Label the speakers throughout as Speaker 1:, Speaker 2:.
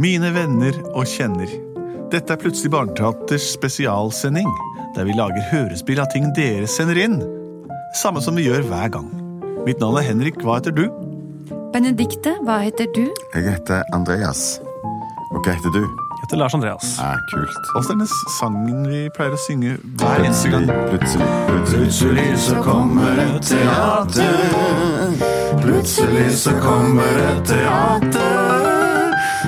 Speaker 1: Mine venner og kjenner. Dette er Plutselig barneteaters spesialsending, der vi lager hørespill av ting dere sender inn. Samme som vi gjør hver gang. Mitt navn er Henrik, hva heter du?
Speaker 2: Benedikte, hva heter du?
Speaker 3: Jeg heter Andreas. Og hva heter du?
Speaker 4: heter Lars Andreas.
Speaker 3: Ja, kult.
Speaker 1: Altså denne sangen vi pleier å synge hver eneste gang.
Speaker 3: Plutselig, plutselig så kommer et teater. Plutselig så kommer et teater.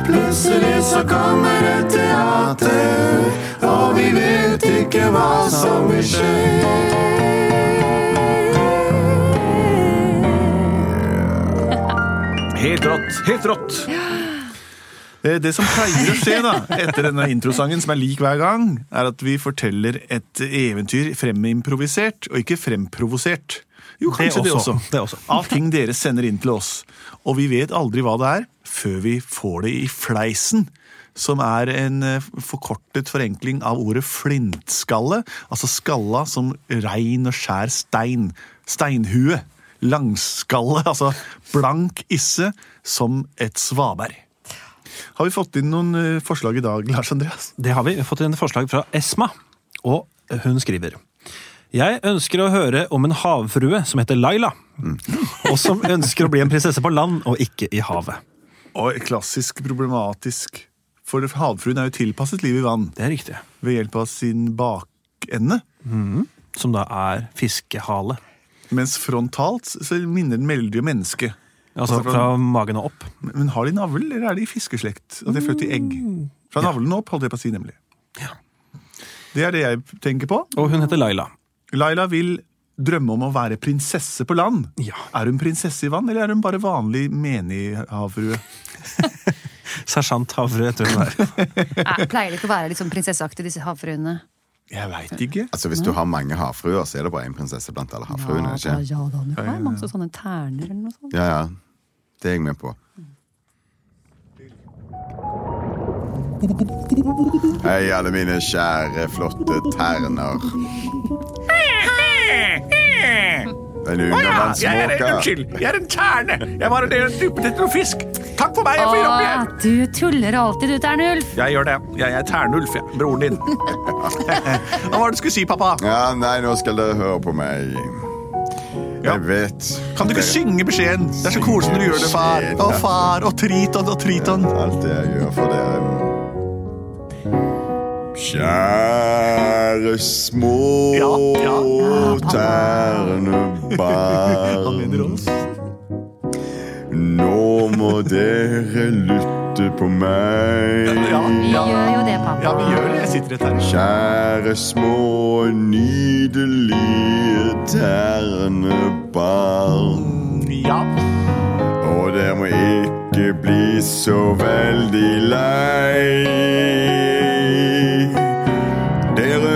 Speaker 3: Plutselig så kommer et teater. Og vi vet ikke hva som vil skje.
Speaker 4: Helt rått! Helt rått!
Speaker 1: Eh, Det som pleier å skje da, etter denne introsangen, som er lik hver gang, er at vi forteller et eventyr fremimprovisert, og ikke fremprovosert. Jo, kanskje det også.
Speaker 4: også. Det også.
Speaker 1: Av ting dere sender inn til oss. Og vi vet aldri hva det er, før vi får det i fleisen. Som er en eh, forkortet forenkling av ordet flintskalle. Altså skalla som rein og skjær stein. Steinhue. Langskalle, altså blank isse som et svaberg. Har vi fått inn noen eh, forslag i dag, Lars Andreas?
Speaker 4: Det har vi. Vi har fått inn forslag fra Esma, og hun skriver jeg ønsker å høre om en havfrue som heter Laila, og som ønsker å bli en prinsesse på land og ikke i havet.
Speaker 1: Og klassisk problematisk. For havfruen er jo tilpasset livet i vann
Speaker 4: Det er riktig.
Speaker 1: ved hjelp av sin bakende.
Speaker 4: Som da er fiskehale.
Speaker 1: Mens frontalt så minner den veldig om menneske.
Speaker 4: Altså fra magen og opp.
Speaker 1: Men men har de navl, eller er de i fiskeslekt? At de er født i egg? Fra navlen opp, holdt jeg på å si, nemlig. Det er det jeg tenker på.
Speaker 4: Og hun heter Laila.
Speaker 1: Laila vil drømme om å være prinsesse på land.
Speaker 4: Ja.
Speaker 1: Er hun prinsesse i vann, eller er hun bare vanlig menig havfrue?
Speaker 4: Sersjant havfrue, tror jeg hun er.
Speaker 2: Nei, pleier det ikke å være litt sånn prinsesseaktig, disse havfruene?
Speaker 1: Jeg veit ikke.
Speaker 3: Altså, Hvis du har mange havfruer, så er det bare én prinsesse blant alle
Speaker 2: ja,
Speaker 3: havfruene. ikke?
Speaker 2: da, ja da, du har masse sånne terner eller noe sånt.
Speaker 3: Ja, ja. Det er jeg med på. Hei, alle mine kjære, flotte terner. En undervannsmåke.
Speaker 1: Jeg er en terne! Jeg var en duppet etter noe fisk. Takk for meg,
Speaker 2: Å, du tuller alltid, du, Ternulf!
Speaker 1: Jeg gjør det. Jeg er Ternulf, jeg. broren din. Hva var det du skulle si, pappa?
Speaker 3: Ja, nei, nå skal dere høre på meg.
Speaker 1: Ja.
Speaker 3: Jeg vet
Speaker 1: Kan du ikke synge beskjeden? Det er så koselig når du gjør det, far. Å, far, og Triton, og Triton.
Speaker 3: alt det jeg gjør for dere. Kjære små
Speaker 1: Ja, ja. Han
Speaker 3: ternebarn.
Speaker 1: mener oss.
Speaker 3: Nå må dere lytte på
Speaker 1: Ja,
Speaker 3: meg.
Speaker 2: Vi
Speaker 1: ja,
Speaker 2: gjør jo det, pappa.
Speaker 1: ja, vi gjør det. Jeg sitter rett her.
Speaker 3: Kjære små nydelige ternebarn.
Speaker 1: Ja.
Speaker 3: Og dere må ikke bli så veldig lei. Dere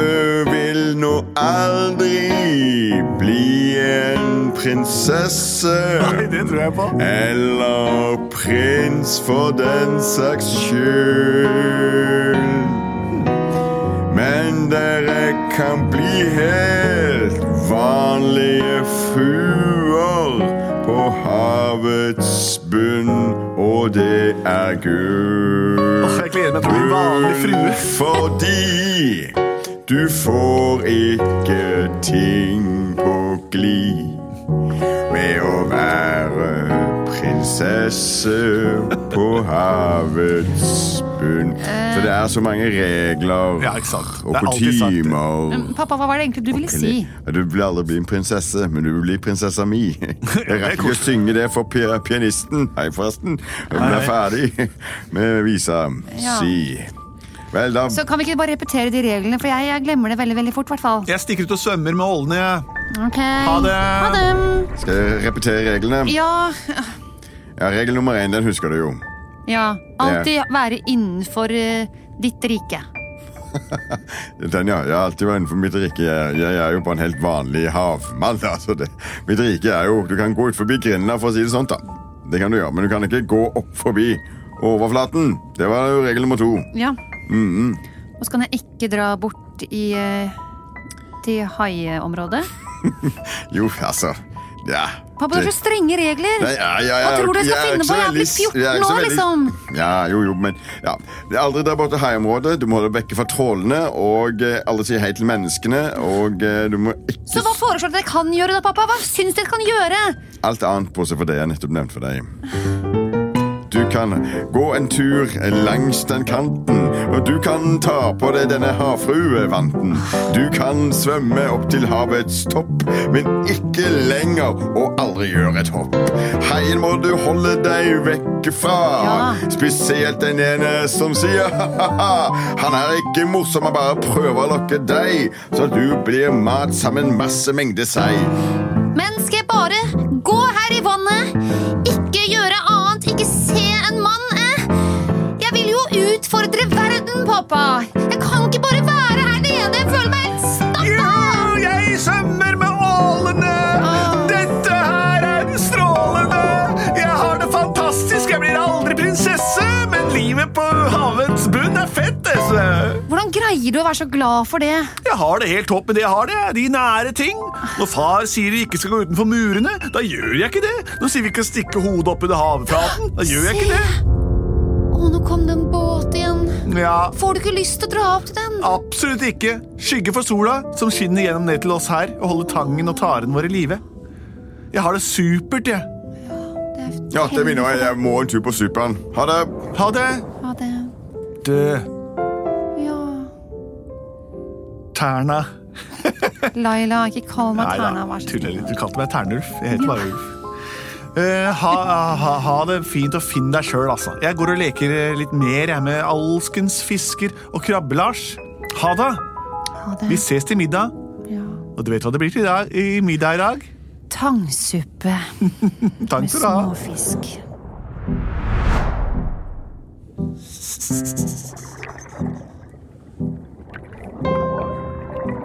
Speaker 3: vil nå aldri bli en prinsesse.
Speaker 1: Nei, det tror jeg på.
Speaker 3: Eller prins for den saks skyld. Men dere kan bli helt vanlige fruer på havets bunn, og det er gull.
Speaker 1: Jeg gleder meg til å bli en vanlig frue.
Speaker 3: Fordi du får ikke ting på glid ved å være prinsesse på havets bunn. For det er så mange regler
Speaker 1: Ja, ikke sant.
Speaker 3: og
Speaker 1: Det er alltid sagt det.
Speaker 3: kutymer.
Speaker 2: Men Pappa, hva var det egentlig du ville si?
Speaker 3: Ja, Du vil aldri bli en prinsesse, men du vil bli prinsessa mi. Jeg rakk ikke å synge det for pi- pianisten. Hei, forresten. Hun er ferdig med visa
Speaker 2: Ja.
Speaker 3: si. Vel, da
Speaker 2: Så kan vi ikke bare repetere de reglene, for jeg, jeg glemmer det veldig veldig fort. Hvertfall.
Speaker 1: Jeg stikker ut og svømmer med ålene. jeg.
Speaker 2: Ok.
Speaker 1: Ha det.
Speaker 2: Ha det.
Speaker 3: skal jeg repetere reglene.
Speaker 2: Ja,
Speaker 3: Ja, Regel nummer én, den husker du jo.
Speaker 2: ja. Alltid være innenfor eh, ditt rike.
Speaker 3: Den, ja. Jeg har alltid vært innenfor mitt rike. Jeg, jeg er jo på en helt vanlig havmann. Altså det. Mitt rike er jo Du kan gå ut forbi grindene, for å si det sånn, da. Det kan du gjøre, men du kan ikke gå opp forbi overflaten. Det var jo regel nummer to.
Speaker 2: Ja. Og så kan jeg ikke dra bort i eh, til haiområdet.
Speaker 3: Jo, altså Ja.
Speaker 2: Pappa, det er så strenge regler!
Speaker 3: Nei, ja, ja,
Speaker 2: Hva
Speaker 3: ja,
Speaker 2: tror du jeg skal
Speaker 3: er
Speaker 2: finne
Speaker 3: ikke
Speaker 2: på?
Speaker 3: så
Speaker 2: Jeg er blitt
Speaker 3: veldig- jeg er
Speaker 2: 14
Speaker 3: ikke så
Speaker 2: år,
Speaker 3: veldig-
Speaker 2: liksom!
Speaker 3: Ja, jo, jo, men ja. Det er aldri der borte i haiområdet. Du må holde vekke fra trålene, og eh, aldri si hei til menneskene, og eh, du må ikke
Speaker 2: Så hva foreslår du at jeg kan gjøre da, pappa? Hva syns du jeg kan gjøre?
Speaker 3: Alt annet bortsett fra det jeg nettopp nevnte for deg. Du kan gå en tur langs den kanten, og du kan ta på deg denne havfruevanten. Du kan svømme opp til havets topp, men ikke lenger og aldri gjøre et hopp. Haien må du holde deg vekk fra,
Speaker 2: Ja.
Speaker 3: spesielt den ene som sier ha-ha-ha. Han er ikke morsom, han bare prøver å lokke deg, så du blir mat sammen masse mengde sei.
Speaker 2: Men skal jeg bare gå her i vannet? Ikke gjøre annet, ikke se en mann, eh? Jeg vil jo utfordre verden, pappa! Jeg kan ikke bare være her nede, jeg føler meg helt stappa!
Speaker 1: Jeg svømmer med ålene! Dette her er strålende! Jeg har det fantastisk, jeg blir aldri prinsesse, men livet på havets bunn er fett, desse.
Speaker 2: Hvordan greier du å være så glad for det?
Speaker 1: Jeg har det helt topp med det jeg har det, de nære ting. Når far sier vi ikke skal gå utenfor murene, da gjør jeg ikke det. Nå sier vi ikke stikke hodet opp under havflaten, da gjør jeg ikke det.
Speaker 2: Å, nå kom det en båt igjen.
Speaker 1: Ja,
Speaker 2: Får du ikke lyst til å dra opp til den?
Speaker 1: absolutt ikke. Skygge for sola, som skinner gjennom ned til oss her, og holder tangen og taren vår i live. Jeg har det supert, jeg.
Speaker 3: Ja, det minner meg. Jeg må en tur på Superen. Ha det!
Speaker 1: Ha det.
Speaker 2: Ja, det
Speaker 1: Død.
Speaker 2: Ja.
Speaker 1: Terna.
Speaker 2: Laila, ikke kall meg
Speaker 1: Nei da,
Speaker 2: Terna, vær så
Speaker 1: tuller litt. Du kalte meg Ternulf. Jeg heter bare Ulf. Eh, ha, ha, ha det fint og finn deg sjøl, altså. Jeg går og leker eh, litt mer jeg, med alskens fisker og krabbe-Lars. Ha det!
Speaker 2: Ha
Speaker 1: Vi
Speaker 2: det.
Speaker 1: ses til middag.
Speaker 2: Ja.
Speaker 1: Og du vet hva det blir til i dag, i middag i dag?
Speaker 2: Tangsuppe
Speaker 1: Takk
Speaker 2: med
Speaker 1: for det.
Speaker 2: småfisk.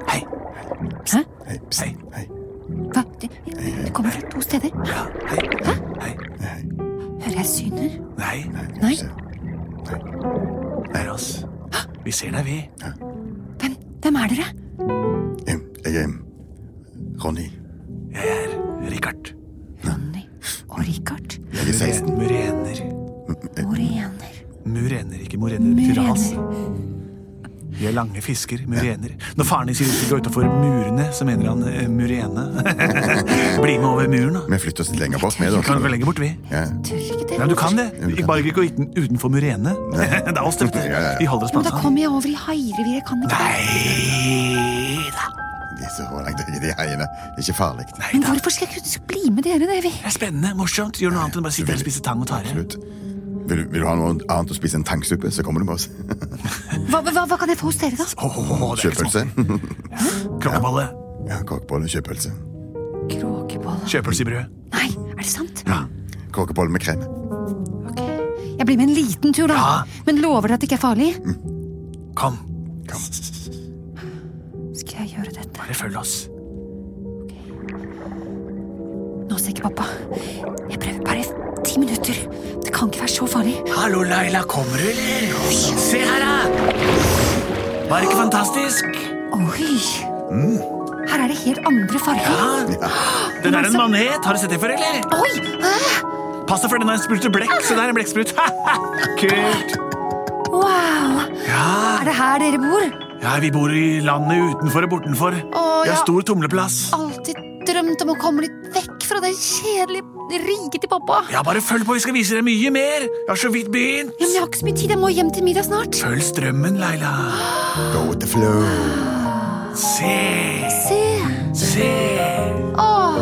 Speaker 1: Hei.
Speaker 2: Hæ?
Speaker 3: Hei, pst.
Speaker 1: Hei.
Speaker 3: Hei.
Speaker 2: Hva? Det, det kommer fra to steder.
Speaker 1: Hei. Hei.
Speaker 2: Hører jeg syner?
Speaker 1: Nei,
Speaker 2: Nei,
Speaker 1: det er oss. Vi ser deg, vi.
Speaker 2: hvem, hvem er dere?
Speaker 3: Em, Jeg er em, Ronny.
Speaker 1: Jeg er Richard.
Speaker 2: Ronny og Richard.
Speaker 3: Jeg er 16.
Speaker 1: Murener.
Speaker 2: Morener.
Speaker 1: Murener, ikke morener. Ras.
Speaker 2: Murener.
Speaker 1: Vi er lange fisker, murener. Når faren din sier vi skal gå utafor murene, så mener han eh, murene. Bli med over muren, da.
Speaker 3: Vi flytter oss litt lenger bort. Med,
Speaker 1: Vi kan gå lenger bort, vi.
Speaker 3: ja.
Speaker 2: Tør ikke
Speaker 1: Nei, du
Speaker 2: det.
Speaker 1: kan det. Ikke bare ikke gå uten, utenfor murene. Det er oss, dette.
Speaker 3: Ja, ja, ja.
Speaker 1: Vi holder oss på
Speaker 2: Men da
Speaker 1: avstand.
Speaker 2: kommer jeg over i haireviret. Jeg kan ikke
Speaker 1: Nei da.
Speaker 3: De er så langt i de heiene. Det er ikke farlig.
Speaker 1: Nei
Speaker 2: Men
Speaker 1: da.
Speaker 2: hvorfor skal jeg kunne bli med dere? Det er vi.
Speaker 1: Det er spennende, morsomt. Gjør noe annet enn bare sitte her og spise tang og tare.
Speaker 3: Absolutt. Vil, du- vil du ha noe annet å spise enn tangsuppe, så kommer du med oss.
Speaker 2: Hva, hva, hva kan jeg få hos dere, da?
Speaker 1: Åh, det er ikke sånn.
Speaker 3: Kjøpølse.
Speaker 1: smått. Krokkeballe.
Speaker 3: Ja, Kokebolle, kjøpølse.
Speaker 2: Kråkebolle.
Speaker 1: Kjøpølse i brød.
Speaker 2: Nei, er det sant?
Speaker 3: Kokebolle med krem.
Speaker 2: Ok. Jeg blir med en liten tur, da.
Speaker 1: Ja.
Speaker 2: Men lover dere at det ikke er farlig?
Speaker 1: Kom,
Speaker 2: Skal jeg gjøre dette?
Speaker 1: Mm. bare følg oss.
Speaker 2: Nå ser ikke pappa. Jeg prøver bare ti minutter. Det kan ikke være så farlig.
Speaker 1: Hallo, Laila. Kommer du, eller? Se her, da! Var det ikke fantastisk?
Speaker 2: Oi! Her er det helt andre farger.
Speaker 1: Mm. Ja.
Speaker 3: Ah,
Speaker 1: Det der er en manet. Har du sett det før, eller?
Speaker 2: Oi! Ah!
Speaker 1: Pass deg for den har en sprut til blekk. Se der, en blekksprut. Kult.
Speaker 2: Wow!
Speaker 1: Ja.
Speaker 2: Er det her dere bor?
Speaker 1: ja, vi bor i landet utenfor og bortenfor.
Speaker 2: Å,
Speaker 1: Vi har
Speaker 2: ja.
Speaker 1: stor tumleplass.
Speaker 2: Alltid drømt om å komme litt vekk fra det kjedelige riket til pappa. Ja,
Speaker 1: Ja, bare følg på. Vi skal vise deg mye mer. Jeg har så vidt begynt.
Speaker 2: men jeg har ikke så mye tid. Jeg må hjem til middag snart.
Speaker 1: Følg strømmen, Laila.
Speaker 3: Go with the flow.
Speaker 1: Se,
Speaker 2: Se!
Speaker 1: se.
Speaker 2: Åh!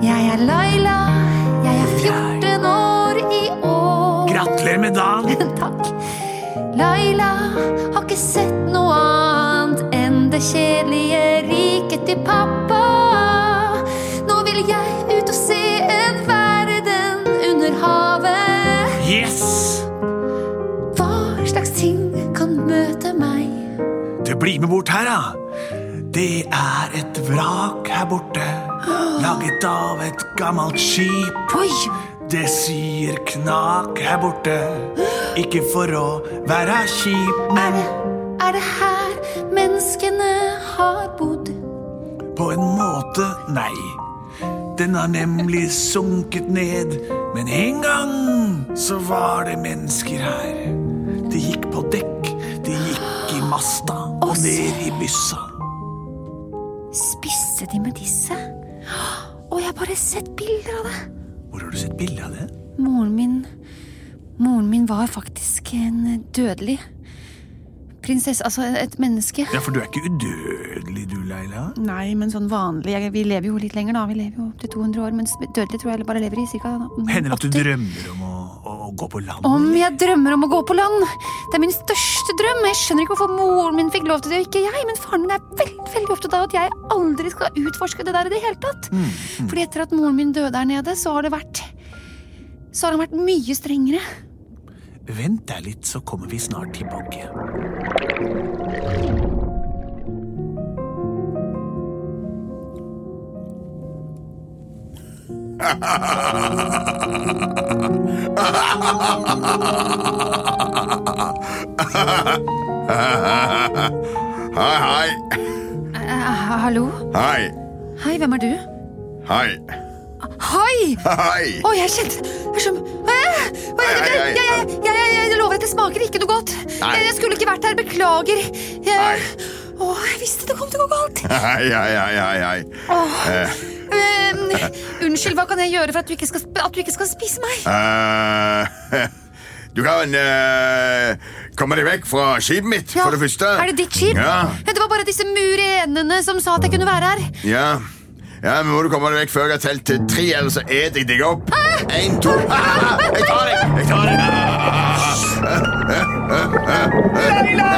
Speaker 2: Jeg er Laila. Jeg er 14 år i år.
Speaker 1: Gratulerer med dagen.
Speaker 2: Takk. Laila har ikke sett noe annet enn det kjedelige riket til pappa. Nå vil jeg ut og se en verden under havet.
Speaker 1: Yes!
Speaker 2: Hva slags ting kan møte meg?
Speaker 1: Du, bli med bort her, da. Det er et vrak her borte, laget av et gammelt skip.
Speaker 2: Oi!
Speaker 1: Det sier knak her borte, ikke for å være kjip,
Speaker 2: Er
Speaker 1: men
Speaker 2: det, er det her menneskene har bodd?
Speaker 1: På en måte, nei. Den har nemlig sunket ned, men en gang så var det mennesker her. De gikk på dekk, de gikk i masta og
Speaker 2: Åh,
Speaker 1: ned i byssa.
Speaker 2: Spiste de med disse? Og jeg har bare sett bilder av det.
Speaker 1: Hvor har du sett bilde av det?
Speaker 2: Moren min Moren min var faktisk en dødelig prinsesse. Altså et menneske.
Speaker 1: Ja, for du er ikke udødelig du, Leila.
Speaker 2: Nei, men sånn vanlig. Jeg- Vi lever jo litt lenger, da. Vi lever jo opp til 200 år. Mens dødelig tror jeg bare lever i ca.
Speaker 1: Hender det at du drømmer om å, å, å gå på land?
Speaker 2: Om jeg drømmer om å gå på land! Det er min største drøm! Jeg skjønner ikke hvorfor moren min fikk lov til det, og ikke jeg. Men faren min er veldig veldig opptatt av at jeg aldri skal utforske det der i det hele tatt. Fordi etter at moren min døde der nede, så har det vært Så har han vært mye strengere.
Speaker 1: Vent deg litt, så kommer vi snart tilbake.
Speaker 3: Hei, hei.
Speaker 2: Eh, hallo?
Speaker 3: Hei.
Speaker 2: Hei, hvem er du?
Speaker 3: Hei.
Speaker 2: Hei!
Speaker 3: Hei.
Speaker 2: Å, jeg kjente Jeg skjønner Æ! Hva er det?
Speaker 3: Ei, ei, ei.
Speaker 2: Jeg, jeg, jeg, jeg, jeg lover at det smaker ikke noe godt.
Speaker 3: Nei.
Speaker 2: Jeg, jeg skulle ikke vært her. Beklager. Jeg, å, jeg visste det kom til å gå galt.
Speaker 3: Hei, hei, hei, hei, hei.
Speaker 2: Åh.
Speaker 3: Eh,
Speaker 2: Ehm, unnskyld, hva kan jeg gjøre for at du ikke skal, sp- at du ikke skal spise meg?
Speaker 3: eh, du kan eh, komme deg vekk fra skipet mitt,
Speaker 2: Ja,
Speaker 3: for det første.
Speaker 2: Er det ditt skip?
Speaker 3: Ja.
Speaker 2: Ja, Det var bare disse murenene som sa at jeg kunne være her.
Speaker 3: Ja. ja, men må du komme deg vekk før jeg har telt til tre, ellers så et jeg deg opp. En, to. Ah, Jeg tar deg! Jeg tar deg! Leila!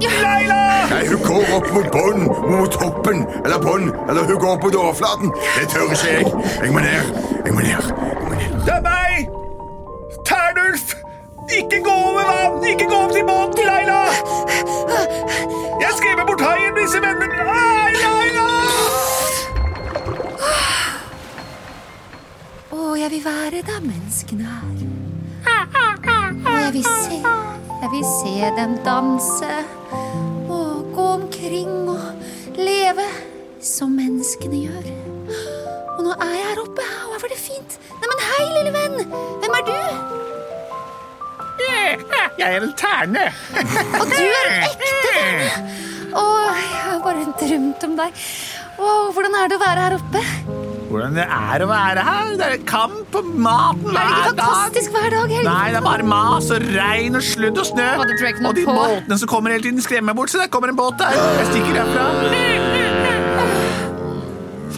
Speaker 3: Leila! Nei, hun går opp mot bånn, mot toppen, eller bånn, eller hun går opp mot overflaten. Det tør ikke jeg. Jeg må ned. Jeg må ned. Jeg må ned.
Speaker 5: Det er meg! Ternulf! Ikke gå over vann! Ikke gå opp til båten, Leila! Jeg skremmer bort haien, disse vennene! Ai, Leila!
Speaker 2: Å, jeg vil være der menneskene er. Å, jeg vil se, jeg vil se dem danse. Å, gå omkring og leve som menneskene gjør. Og nå er jeg her oppe, og her var det fint. Neimen, hei, lille venn! Hvem er du?
Speaker 5: Jeg er en terne.
Speaker 2: Og du er en ekte venn! Å, jeg har bare drømt om deg. Å, hvordan er det å være her oppe?
Speaker 1: Hvordan det er å være her? Det er kamp om maten
Speaker 2: Er det
Speaker 1: hver
Speaker 2: ikke
Speaker 1: dag.
Speaker 2: fantastisk hver dag? Helge?
Speaker 1: Nei, det er bare mas og regn og sludd og snø.
Speaker 2: Og det tror jeg ikke noe
Speaker 1: Og de
Speaker 2: på.
Speaker 1: båtene som kommer hele tiden, skremmer meg bort. Se, der kommer en båt der. Jeg stikker derfra.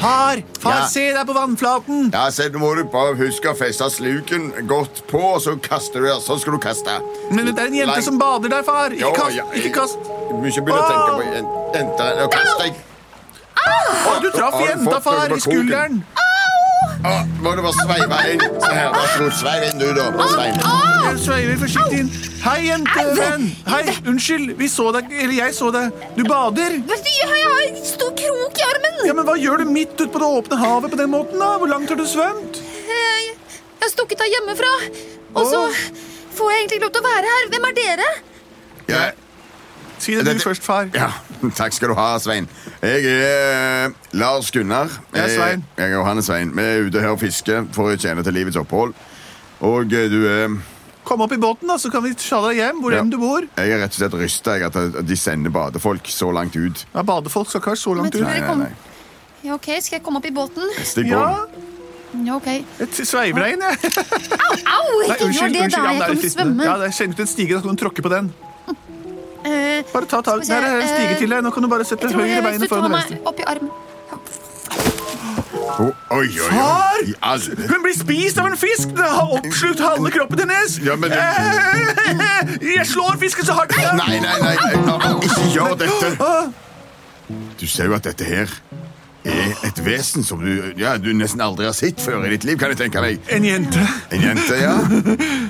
Speaker 1: Far, far,
Speaker 3: Ja.
Speaker 1: se der på vannflaten.
Speaker 3: Ja, så nå må du bare huske å feste sluken godt på, og så kaster du der. Sånn skal du kaste.
Speaker 1: Men det er en jente
Speaker 3: Nei.
Speaker 1: som bader der, far. Ikke kast. Ikke kast. Ah.
Speaker 3: Mye begynner å tenke på jen- jenter. Nå kast deg.
Speaker 1: Å, du traff
Speaker 3: Har du
Speaker 1: jenta,
Speaker 3: fått
Speaker 1: far,
Speaker 3: noe
Speaker 1: i
Speaker 3: på kroken?
Speaker 1: skulderen.
Speaker 3: Å, må du bare sveive inn. Se her, vær så god. Sveiv inn, du, da.
Speaker 1: Ah,
Speaker 3: Bare Sveiv inn.
Speaker 1: Jeg sveiver forsiktig inn. Hei, jentevenn. Hei, unnskyld. Vi så deg, eller jeg så deg. Du bader.
Speaker 2: Hva er det du gjør? Jeg har en stor krok i armen!
Speaker 1: Ja, men Hva gjør du midt ute på det åpne havet på den måten? da? Hvor langt har du svømt?
Speaker 2: Eh, Jeg jeg har stukket av hjemmefra. Og så
Speaker 1: Åh.
Speaker 2: får jeg egentlig ikke lov til å være her. Hvem er dere?
Speaker 3: Ja,
Speaker 1: Si det du
Speaker 3: Dette-
Speaker 1: først, far.
Speaker 3: ja. Takk skal du ha, Svein. Jeg er eh, Lars Gunnar.
Speaker 1: Jeg er Svein.
Speaker 3: Jeg er Johannes Svein. Vi er ute her og fisker for å tjene til livets opphold. Og eh, du er
Speaker 1: Kom opp i båten, da, så kan vi ta deg hjem hvor
Speaker 3: Ja.
Speaker 1: enn du bor.
Speaker 3: Jeg er rett og slett rysta at at de sender badefolk så langt ut.
Speaker 1: Ja, Badefolk skal ikke være så langt ut.
Speaker 2: Men tror
Speaker 3: Nei,
Speaker 2: dere
Speaker 3: nei,
Speaker 2: kom-
Speaker 3: nei.
Speaker 2: Ja, ok, Skal jeg komme opp i båten?
Speaker 3: Stikk på.
Speaker 1: Ja,
Speaker 2: Ja, ok.
Speaker 1: jeg t- sveiver deg inn, jeg.
Speaker 2: Au!
Speaker 1: Nei,
Speaker 2: Ikke gjør det
Speaker 1: Ja,
Speaker 2: der. Jeg
Speaker 1: det er
Speaker 2: kan
Speaker 1: litt fristende.
Speaker 2: svømme.
Speaker 1: Ja, det er- Kjenner du til en stige, da kan du tråkke på den.
Speaker 2: Eh,
Speaker 1: Bare ta tak.
Speaker 2: Skal vi se,
Speaker 1: Der er en stige
Speaker 2: eh,
Speaker 1: til deg. Nå kan du bare sette
Speaker 2: jeg tror
Speaker 1: høyre
Speaker 2: jeg,
Speaker 1: beinet
Speaker 2: hvis du tar
Speaker 1: foran det venstre.
Speaker 2: meg opp i armen
Speaker 3: Å, Oi, oi, oi.
Speaker 1: Far!
Speaker 3: I all-
Speaker 1: Hun blir spist av en fisk! Den har oppslukt halve kroppen hennes!
Speaker 3: Ja, men-
Speaker 1: Eh, Jeg slår fisken så hardt jeg kan!
Speaker 3: Nei, nei, nei, nei, ikke gjør dette! Du ser jo at dette her er et vesen som du, ja, du nesten aldri har sett før i ditt liv, kan jeg tenke meg.
Speaker 1: En jente.
Speaker 3: En jente, ja,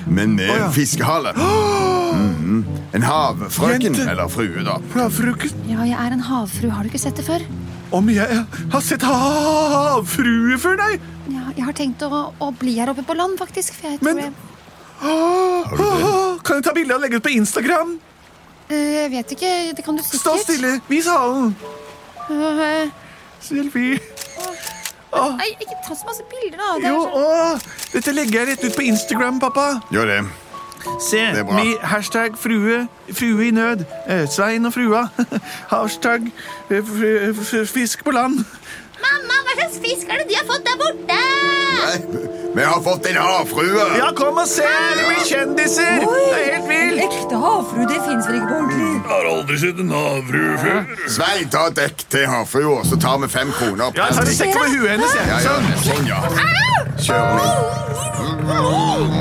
Speaker 3: men med en fiskehale. Mhm. En havfrøken,
Speaker 1: Jente.
Speaker 3: eller frue, da.
Speaker 1: Fra frukt.
Speaker 2: Ja, jeg er en havfrue. Har du ikke sett det før?
Speaker 1: Om jeg har sett havfrue før, nei!
Speaker 2: Ja, jeg har tenkt å, å bli her oppe på land, faktisk. For jeg tror
Speaker 1: Men-
Speaker 2: jeg,
Speaker 1: Åh, Kan jeg ta bilde og legge ut på Instagram?
Speaker 2: Eh, jeg vet ikke. Det kan du sikkert.
Speaker 1: Stå stille, vis halen.
Speaker 2: Eh,
Speaker 1: Selfie.
Speaker 2: Nei, ikke ta så masse bilder, da. Det er
Speaker 1: Ah.
Speaker 2: sånn,
Speaker 1: Jo,
Speaker 2: så...
Speaker 1: å, dette legger jeg rett ut på Instagram, pappa.
Speaker 3: Gjør det.
Speaker 1: Se,
Speaker 3: er bra.
Speaker 1: vi hashtag frue, frue i nød, eh, Svein og frua. Hashtag eh, fr- fr- fisk på land.
Speaker 2: Mamma, hva slags fisk er det de har fått der borte?
Speaker 3: Vi har fått en havfrue!
Speaker 1: Ja, kom og se! Det blir kjendiser! Det er
Speaker 6: En
Speaker 1: helt vilt!
Speaker 6: ekte havfrue, det fins vel ikke på ordentlig?
Speaker 5: Har aldri sett en havfrue før.
Speaker 3: Svein, ta et dekk til havfrua, så tar vi fem kroner.
Speaker 1: Ja, jeg tar en sekk over huet hennes,
Speaker 3: Ja,
Speaker 1: jeg.
Speaker 3: ja,
Speaker 1: Sånn.
Speaker 3: sånn, ja. Kjør den.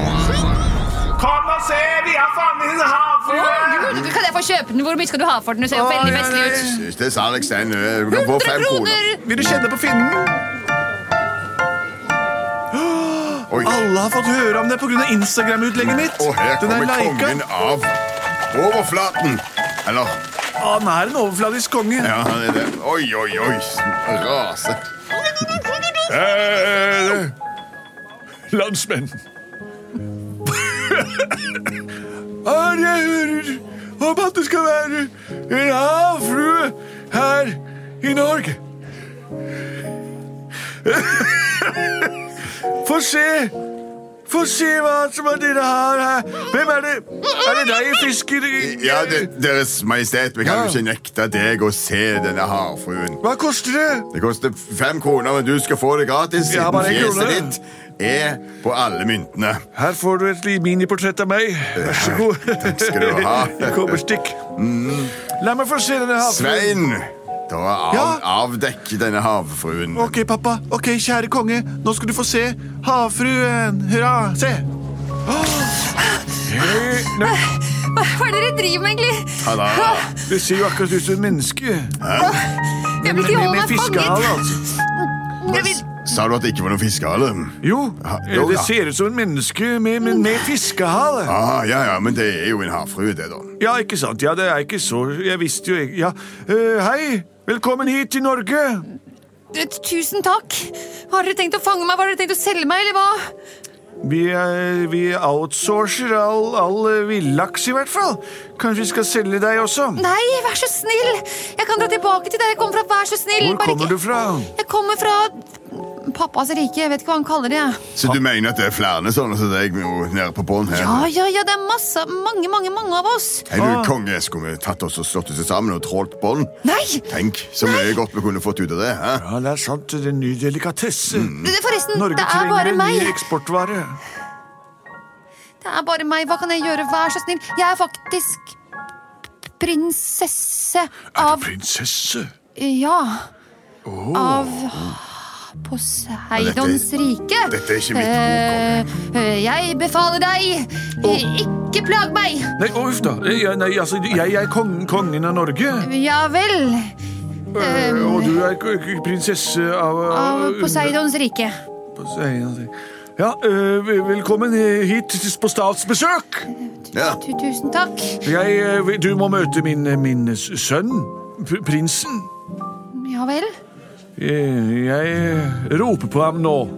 Speaker 5: Kom og se, vi har fanget en havfrue!
Speaker 2: Gud, Kan jeg få kjøpe den? Hvor mye skal du ha for den? Du ser jo
Speaker 1: Å,
Speaker 2: veldig
Speaker 1: ja,
Speaker 2: festlig ut.
Speaker 1: nei.
Speaker 3: Ikke salgs ennå. eh, Du kan få
Speaker 2: 100
Speaker 3: fem kroner.
Speaker 2: kroner!
Speaker 1: Vil du kjenne på finnen?
Speaker 3: Oi.
Speaker 1: Alle har fått høre om det pga. Instagram-utlegget mitt.
Speaker 3: Og her
Speaker 1: Den er
Speaker 3: kommer
Speaker 1: lika.
Speaker 3: kongen av overflaten. Eller
Speaker 1: Å, Han er en overfladisk konge.
Speaker 3: Ja, han er det. Oi, oi, oi. Rase.
Speaker 5: Landsmenn.
Speaker 1: Her jeg hører om at det skal være en havfrue her i Norge. Få se. Få se hva som er dere har her. Hvem er det? Er det deg, fisker?
Speaker 3: Ja, det, Deres Majestet, vi kan jo ikke nekte deg å se denne havfruen.
Speaker 1: Hva koster det?
Speaker 3: Det koster fem kroner, men du skal få det
Speaker 1: Ja,
Speaker 3: gratis siden
Speaker 1: bare en
Speaker 3: fjeset
Speaker 1: krone.
Speaker 3: ditt er på alle myntene.
Speaker 1: Her får du et li- miniportrett av meg. Vær så god.
Speaker 3: Eh, Takk skal du ha. Mm.
Speaker 1: Kobberstikk. La meg få se denne havfruen.
Speaker 3: Svein, da av,
Speaker 1: Ja.
Speaker 3: avdekk denne havfruen.
Speaker 1: Ok, pappa. Ok, kjære konge. Nå skal du få se havfruen. Hurra. Se.
Speaker 3: Ah.
Speaker 2: Hva hva er det dere driver med, egentlig?
Speaker 3: Ta da.
Speaker 1: Det ser jo akkurat ut som et menneske.
Speaker 2: Jeg vil
Speaker 1: Med-
Speaker 2: ikke holde
Speaker 1: med
Speaker 2: meg
Speaker 1: fiskehale,
Speaker 2: fanget.
Speaker 1: altså.
Speaker 2: Jeg vil...
Speaker 3: Sa du at det ikke var noe fiskehale?
Speaker 1: Jo, eh,
Speaker 3: Ha- jo,
Speaker 1: det
Speaker 3: ja.
Speaker 1: ser ut som et menneske med, med, med fiskehale.
Speaker 3: Ah, ja, ja, men det er jo en havfrue, det, da.
Speaker 1: Ja, ikke sant. Ja, det er ikke så Jeg visste jo ikke ja. Eh, Hei, velkommen hit til Norge.
Speaker 2: Tusen takk. Har dere tenkt å fange meg? Har dere tenkt å selge meg, eller hva?
Speaker 1: Vi, eh, vi outsourcer all, all eh, villaks, i hvert fall. Kanskje vi skal selge deg også?
Speaker 2: Nei, vær så snill! Jeg kan dra tilbake til der jeg kom fra, vær så snill!
Speaker 1: Hvor
Speaker 2: Bare
Speaker 1: kommer
Speaker 2: ikke-
Speaker 1: du fra?
Speaker 2: Jeg kommer fra pappas rike, jeg vet ikke hva han kaller det. jeg.
Speaker 3: Så du mener at det er flere sånne som deg jo nede på bånn her?
Speaker 2: Ja, ja, ja, det er masse, mange, mange, mange av oss.
Speaker 3: Er du konge? Skulle vi tatt oss og slått oss sammen og trålt bånd?
Speaker 2: Nei!
Speaker 3: Tenk så mye godt vi kunne fått ut av det. Hæ?
Speaker 1: Ja, det er sant. Det er en ny delikatesse.
Speaker 2: Det- Forresten,
Speaker 1: Norge
Speaker 2: Mm. det er
Speaker 1: trenger
Speaker 2: bare
Speaker 1: en ny
Speaker 2: meg.
Speaker 1: eksportvare.
Speaker 2: Det er bare meg, hva kan jeg gjøre? Vær så snill. Jeg er faktisk prinsesse
Speaker 1: Er
Speaker 2: av
Speaker 1: du prinsesse?
Speaker 2: Ja. Av
Speaker 3: Ja,
Speaker 2: Poseidons
Speaker 3: dette-
Speaker 2: rike.
Speaker 3: dette er ikke mitt
Speaker 2: Eh, eh, Jeg befaler deg, ikke plag meg!
Speaker 1: Nei, å, uff da. Ja, nei, altså, jeg er kongen, kongen av Norge.
Speaker 2: Ja vel.
Speaker 1: Eh, og du er k- k- prinsesse av,
Speaker 2: Ehm. Av Poseidons rike.
Speaker 1: Poseidons rike. Ja, eh, vel- velkommen eh, hit til- på statsbesøk.
Speaker 3: Ja.
Speaker 2: Tu- Tusen takk.
Speaker 1: Jeg, eh, vil- du må møte min, eh, min s- sønn, pr- prinsen.
Speaker 2: Ja vel.
Speaker 1: Eh, Jeg eh, roper på ham nå.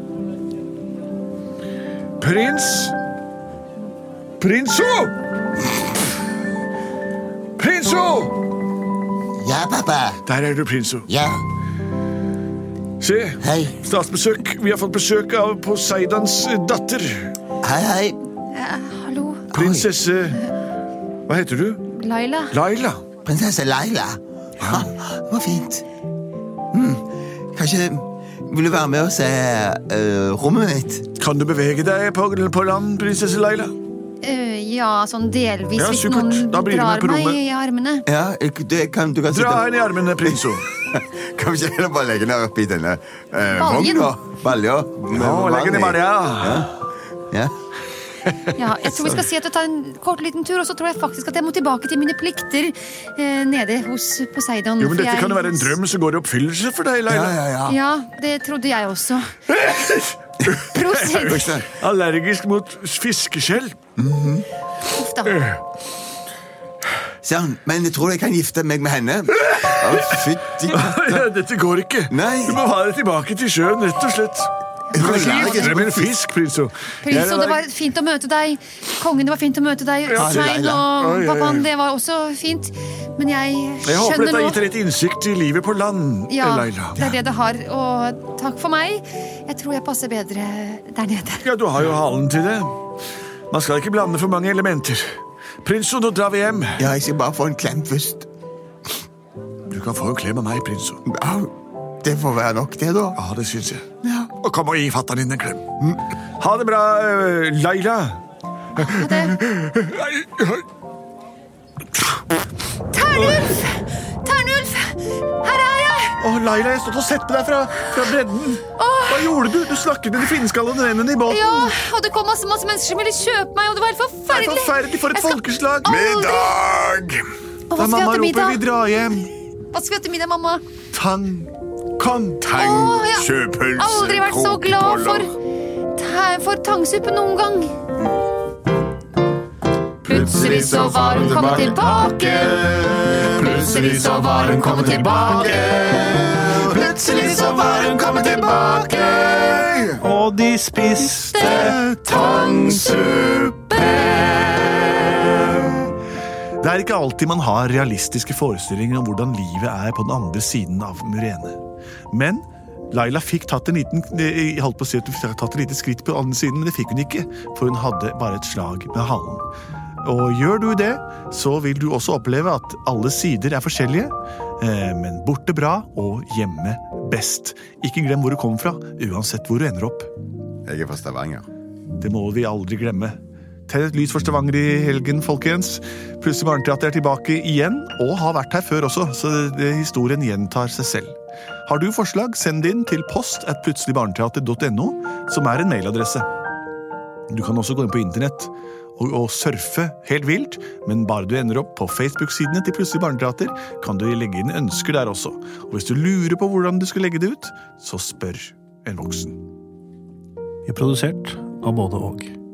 Speaker 1: Prins Prinso! Prinso!
Speaker 7: Ja, pappa.
Speaker 1: Der er du, Prinso.
Speaker 7: Ja,
Speaker 1: Se,
Speaker 7: hei.
Speaker 1: statsbesøk. Vi har fått besøk av Poseidons eh, datter.
Speaker 7: Hei, hei.
Speaker 2: Eh, Hallo,
Speaker 1: Prinsesse Hva heter du?
Speaker 2: Laila.
Speaker 1: Laila.
Speaker 7: Prinsesse Laila. Ha, det var fint. Mm. Kanskje vil du være med og se eh, rommet mitt?
Speaker 1: Kan du bevege deg på, på land, prinsesse Laila?
Speaker 2: Eh, ja, sånn delvis,
Speaker 1: Ja,
Speaker 2: hvis
Speaker 1: supert.
Speaker 2: noen
Speaker 1: Da blir du
Speaker 2: drar
Speaker 1: med på
Speaker 2: meg
Speaker 1: rommet.
Speaker 2: i armene.
Speaker 7: Ja, Øh, du kan, du
Speaker 1: Dra
Speaker 7: kan sitte
Speaker 1: henne i armene, prinso.
Speaker 3: Kan vi ikke heller bare legge ned oppi denne
Speaker 7: øh,
Speaker 3: eh,
Speaker 2: Baljen.
Speaker 3: vogna? Balja.
Speaker 1: Nå, legg henne i balja.
Speaker 7: Ja.
Speaker 2: Ja, jeg tror vi skal si at jeg tar en kort liten tur, og så tror jeg faktisk at jeg må tilbake til mine plikter eh, nede hos Poseidon.
Speaker 1: Jo, men
Speaker 2: for
Speaker 1: Dette
Speaker 2: jeg-
Speaker 1: kan jo være en drøm som går i oppfyllelse for deg,
Speaker 7: ja,
Speaker 1: Laila.
Speaker 7: ja, ja.
Speaker 2: Ja, det trodde jeg også. Prosit.
Speaker 1: Allergisk mot fiskeskjell.
Speaker 2: Uff da.
Speaker 7: Sånn, men jeg tror jeg kan gifte meg med henne. Å, fytti
Speaker 1: Ja, Dette går ikke.
Speaker 7: Nei.
Speaker 1: Du må ha deg tilbake til sjøen, rett og slett. Du kan ikke
Speaker 7: Allergisk
Speaker 1: gifte deg med en fisk, prinso. Jeg
Speaker 2: Prinso,
Speaker 1: er
Speaker 2: det var fint å møte deg. Kongen, det var fint å møte deg.
Speaker 7: Ja,
Speaker 2: Svein og
Speaker 7: Laila.
Speaker 1: Oi, oi, oi.
Speaker 2: pappaen, det var også fint. Men jeg
Speaker 8: Jeg håper
Speaker 2: skjønner
Speaker 8: dette har gitt
Speaker 2: nå
Speaker 8: deg litt innsikt i livet på land,
Speaker 2: ja,
Speaker 8: Laila.
Speaker 2: det er det det har, og takk for meg. Jeg tror jeg passer bedre der nede.
Speaker 8: Ja, du har jo halen til det. Man skal ikke blande for mange elementer. Prinso, nå drar vi hjem.
Speaker 7: Ja, jeg skal bare få en klem først.
Speaker 8: Du kan få en klem av meg, prinso.
Speaker 7: Au. Det får være nok, det, da.
Speaker 8: Ja, det syns jeg.
Speaker 7: Ja.
Speaker 8: Og kom og gi fatter'n din en klem. Ha det bra, eh, Laila.
Speaker 2: Ha det. Ternulf! Ternulf! Her er jeg!
Speaker 8: Å, Laila, jeg stod og sett på deg fra, fra bredden. Hva gjorde du? Du snakket med de finskallede vennene i båten.
Speaker 2: Ja, og det kom masse, masse mennesker som ville kjøpe meg, og det var helt
Speaker 8: Det er
Speaker 2: forferdelig.
Speaker 8: forferdelig for et
Speaker 2: Jeg skal
Speaker 8: folkeslag.
Speaker 2: aldri-
Speaker 8: Middag!
Speaker 2: Og hva skal vi
Speaker 8: Da
Speaker 2: ha
Speaker 8: mamma
Speaker 2: til
Speaker 8: roper vi
Speaker 2: middag?
Speaker 8: drar hjem.
Speaker 2: Hva skal vi ha til middag, mamma?
Speaker 8: Tang. Kom.
Speaker 2: Å,
Speaker 8: Tang.
Speaker 2: jeg har aldri vært så glad for, ta- for tangsuppe noen gang. Plutselig så var hun kommet tilbake. Plutselig så var hun kommet tilbake.
Speaker 8: Plutselig så var hun kommet tilbake.
Speaker 4: Og de spiste
Speaker 8: Tangsuppe. Det er ikke alltid man har realistiske forestillinger om hvordan livet er på den andre siden av Murene. Men Laila fikk tatt en liten, jeg holdt på å si at hun fikk tatt et lite skritt på den andre siden, men det fikk hun ikke, for hun hadde bare et slag med halen. Og gjør du det, så vil du også oppleve at alle sider er forskjellige, eh, men borte bra og hjemme best. Ikke glem hvor du kommer fra, uansett hvor du ender opp.
Speaker 3: Jeg er fra Stavanger.
Speaker 8: Det må vi aldri glemme. Tenn et lys for Stavanger i helgen, folkens. Plutselig Barneteater er tilbake igjen, og har vært her før også, så det, historien gjentar seg selv. Har du forslag, send det inn til post at plutseligbarneteater.no, som er en mailadresse. Du kan også gå inn på internett og, og surfe helt vilt, men bare du ender opp på Facebook-sidene til Plutselig barneteater, kan du legge inn ønsker der også. Og hvis du lurer på hvordan du skal legge det ut, så spør en voksen.
Speaker 4: Vi er Produsert av både og.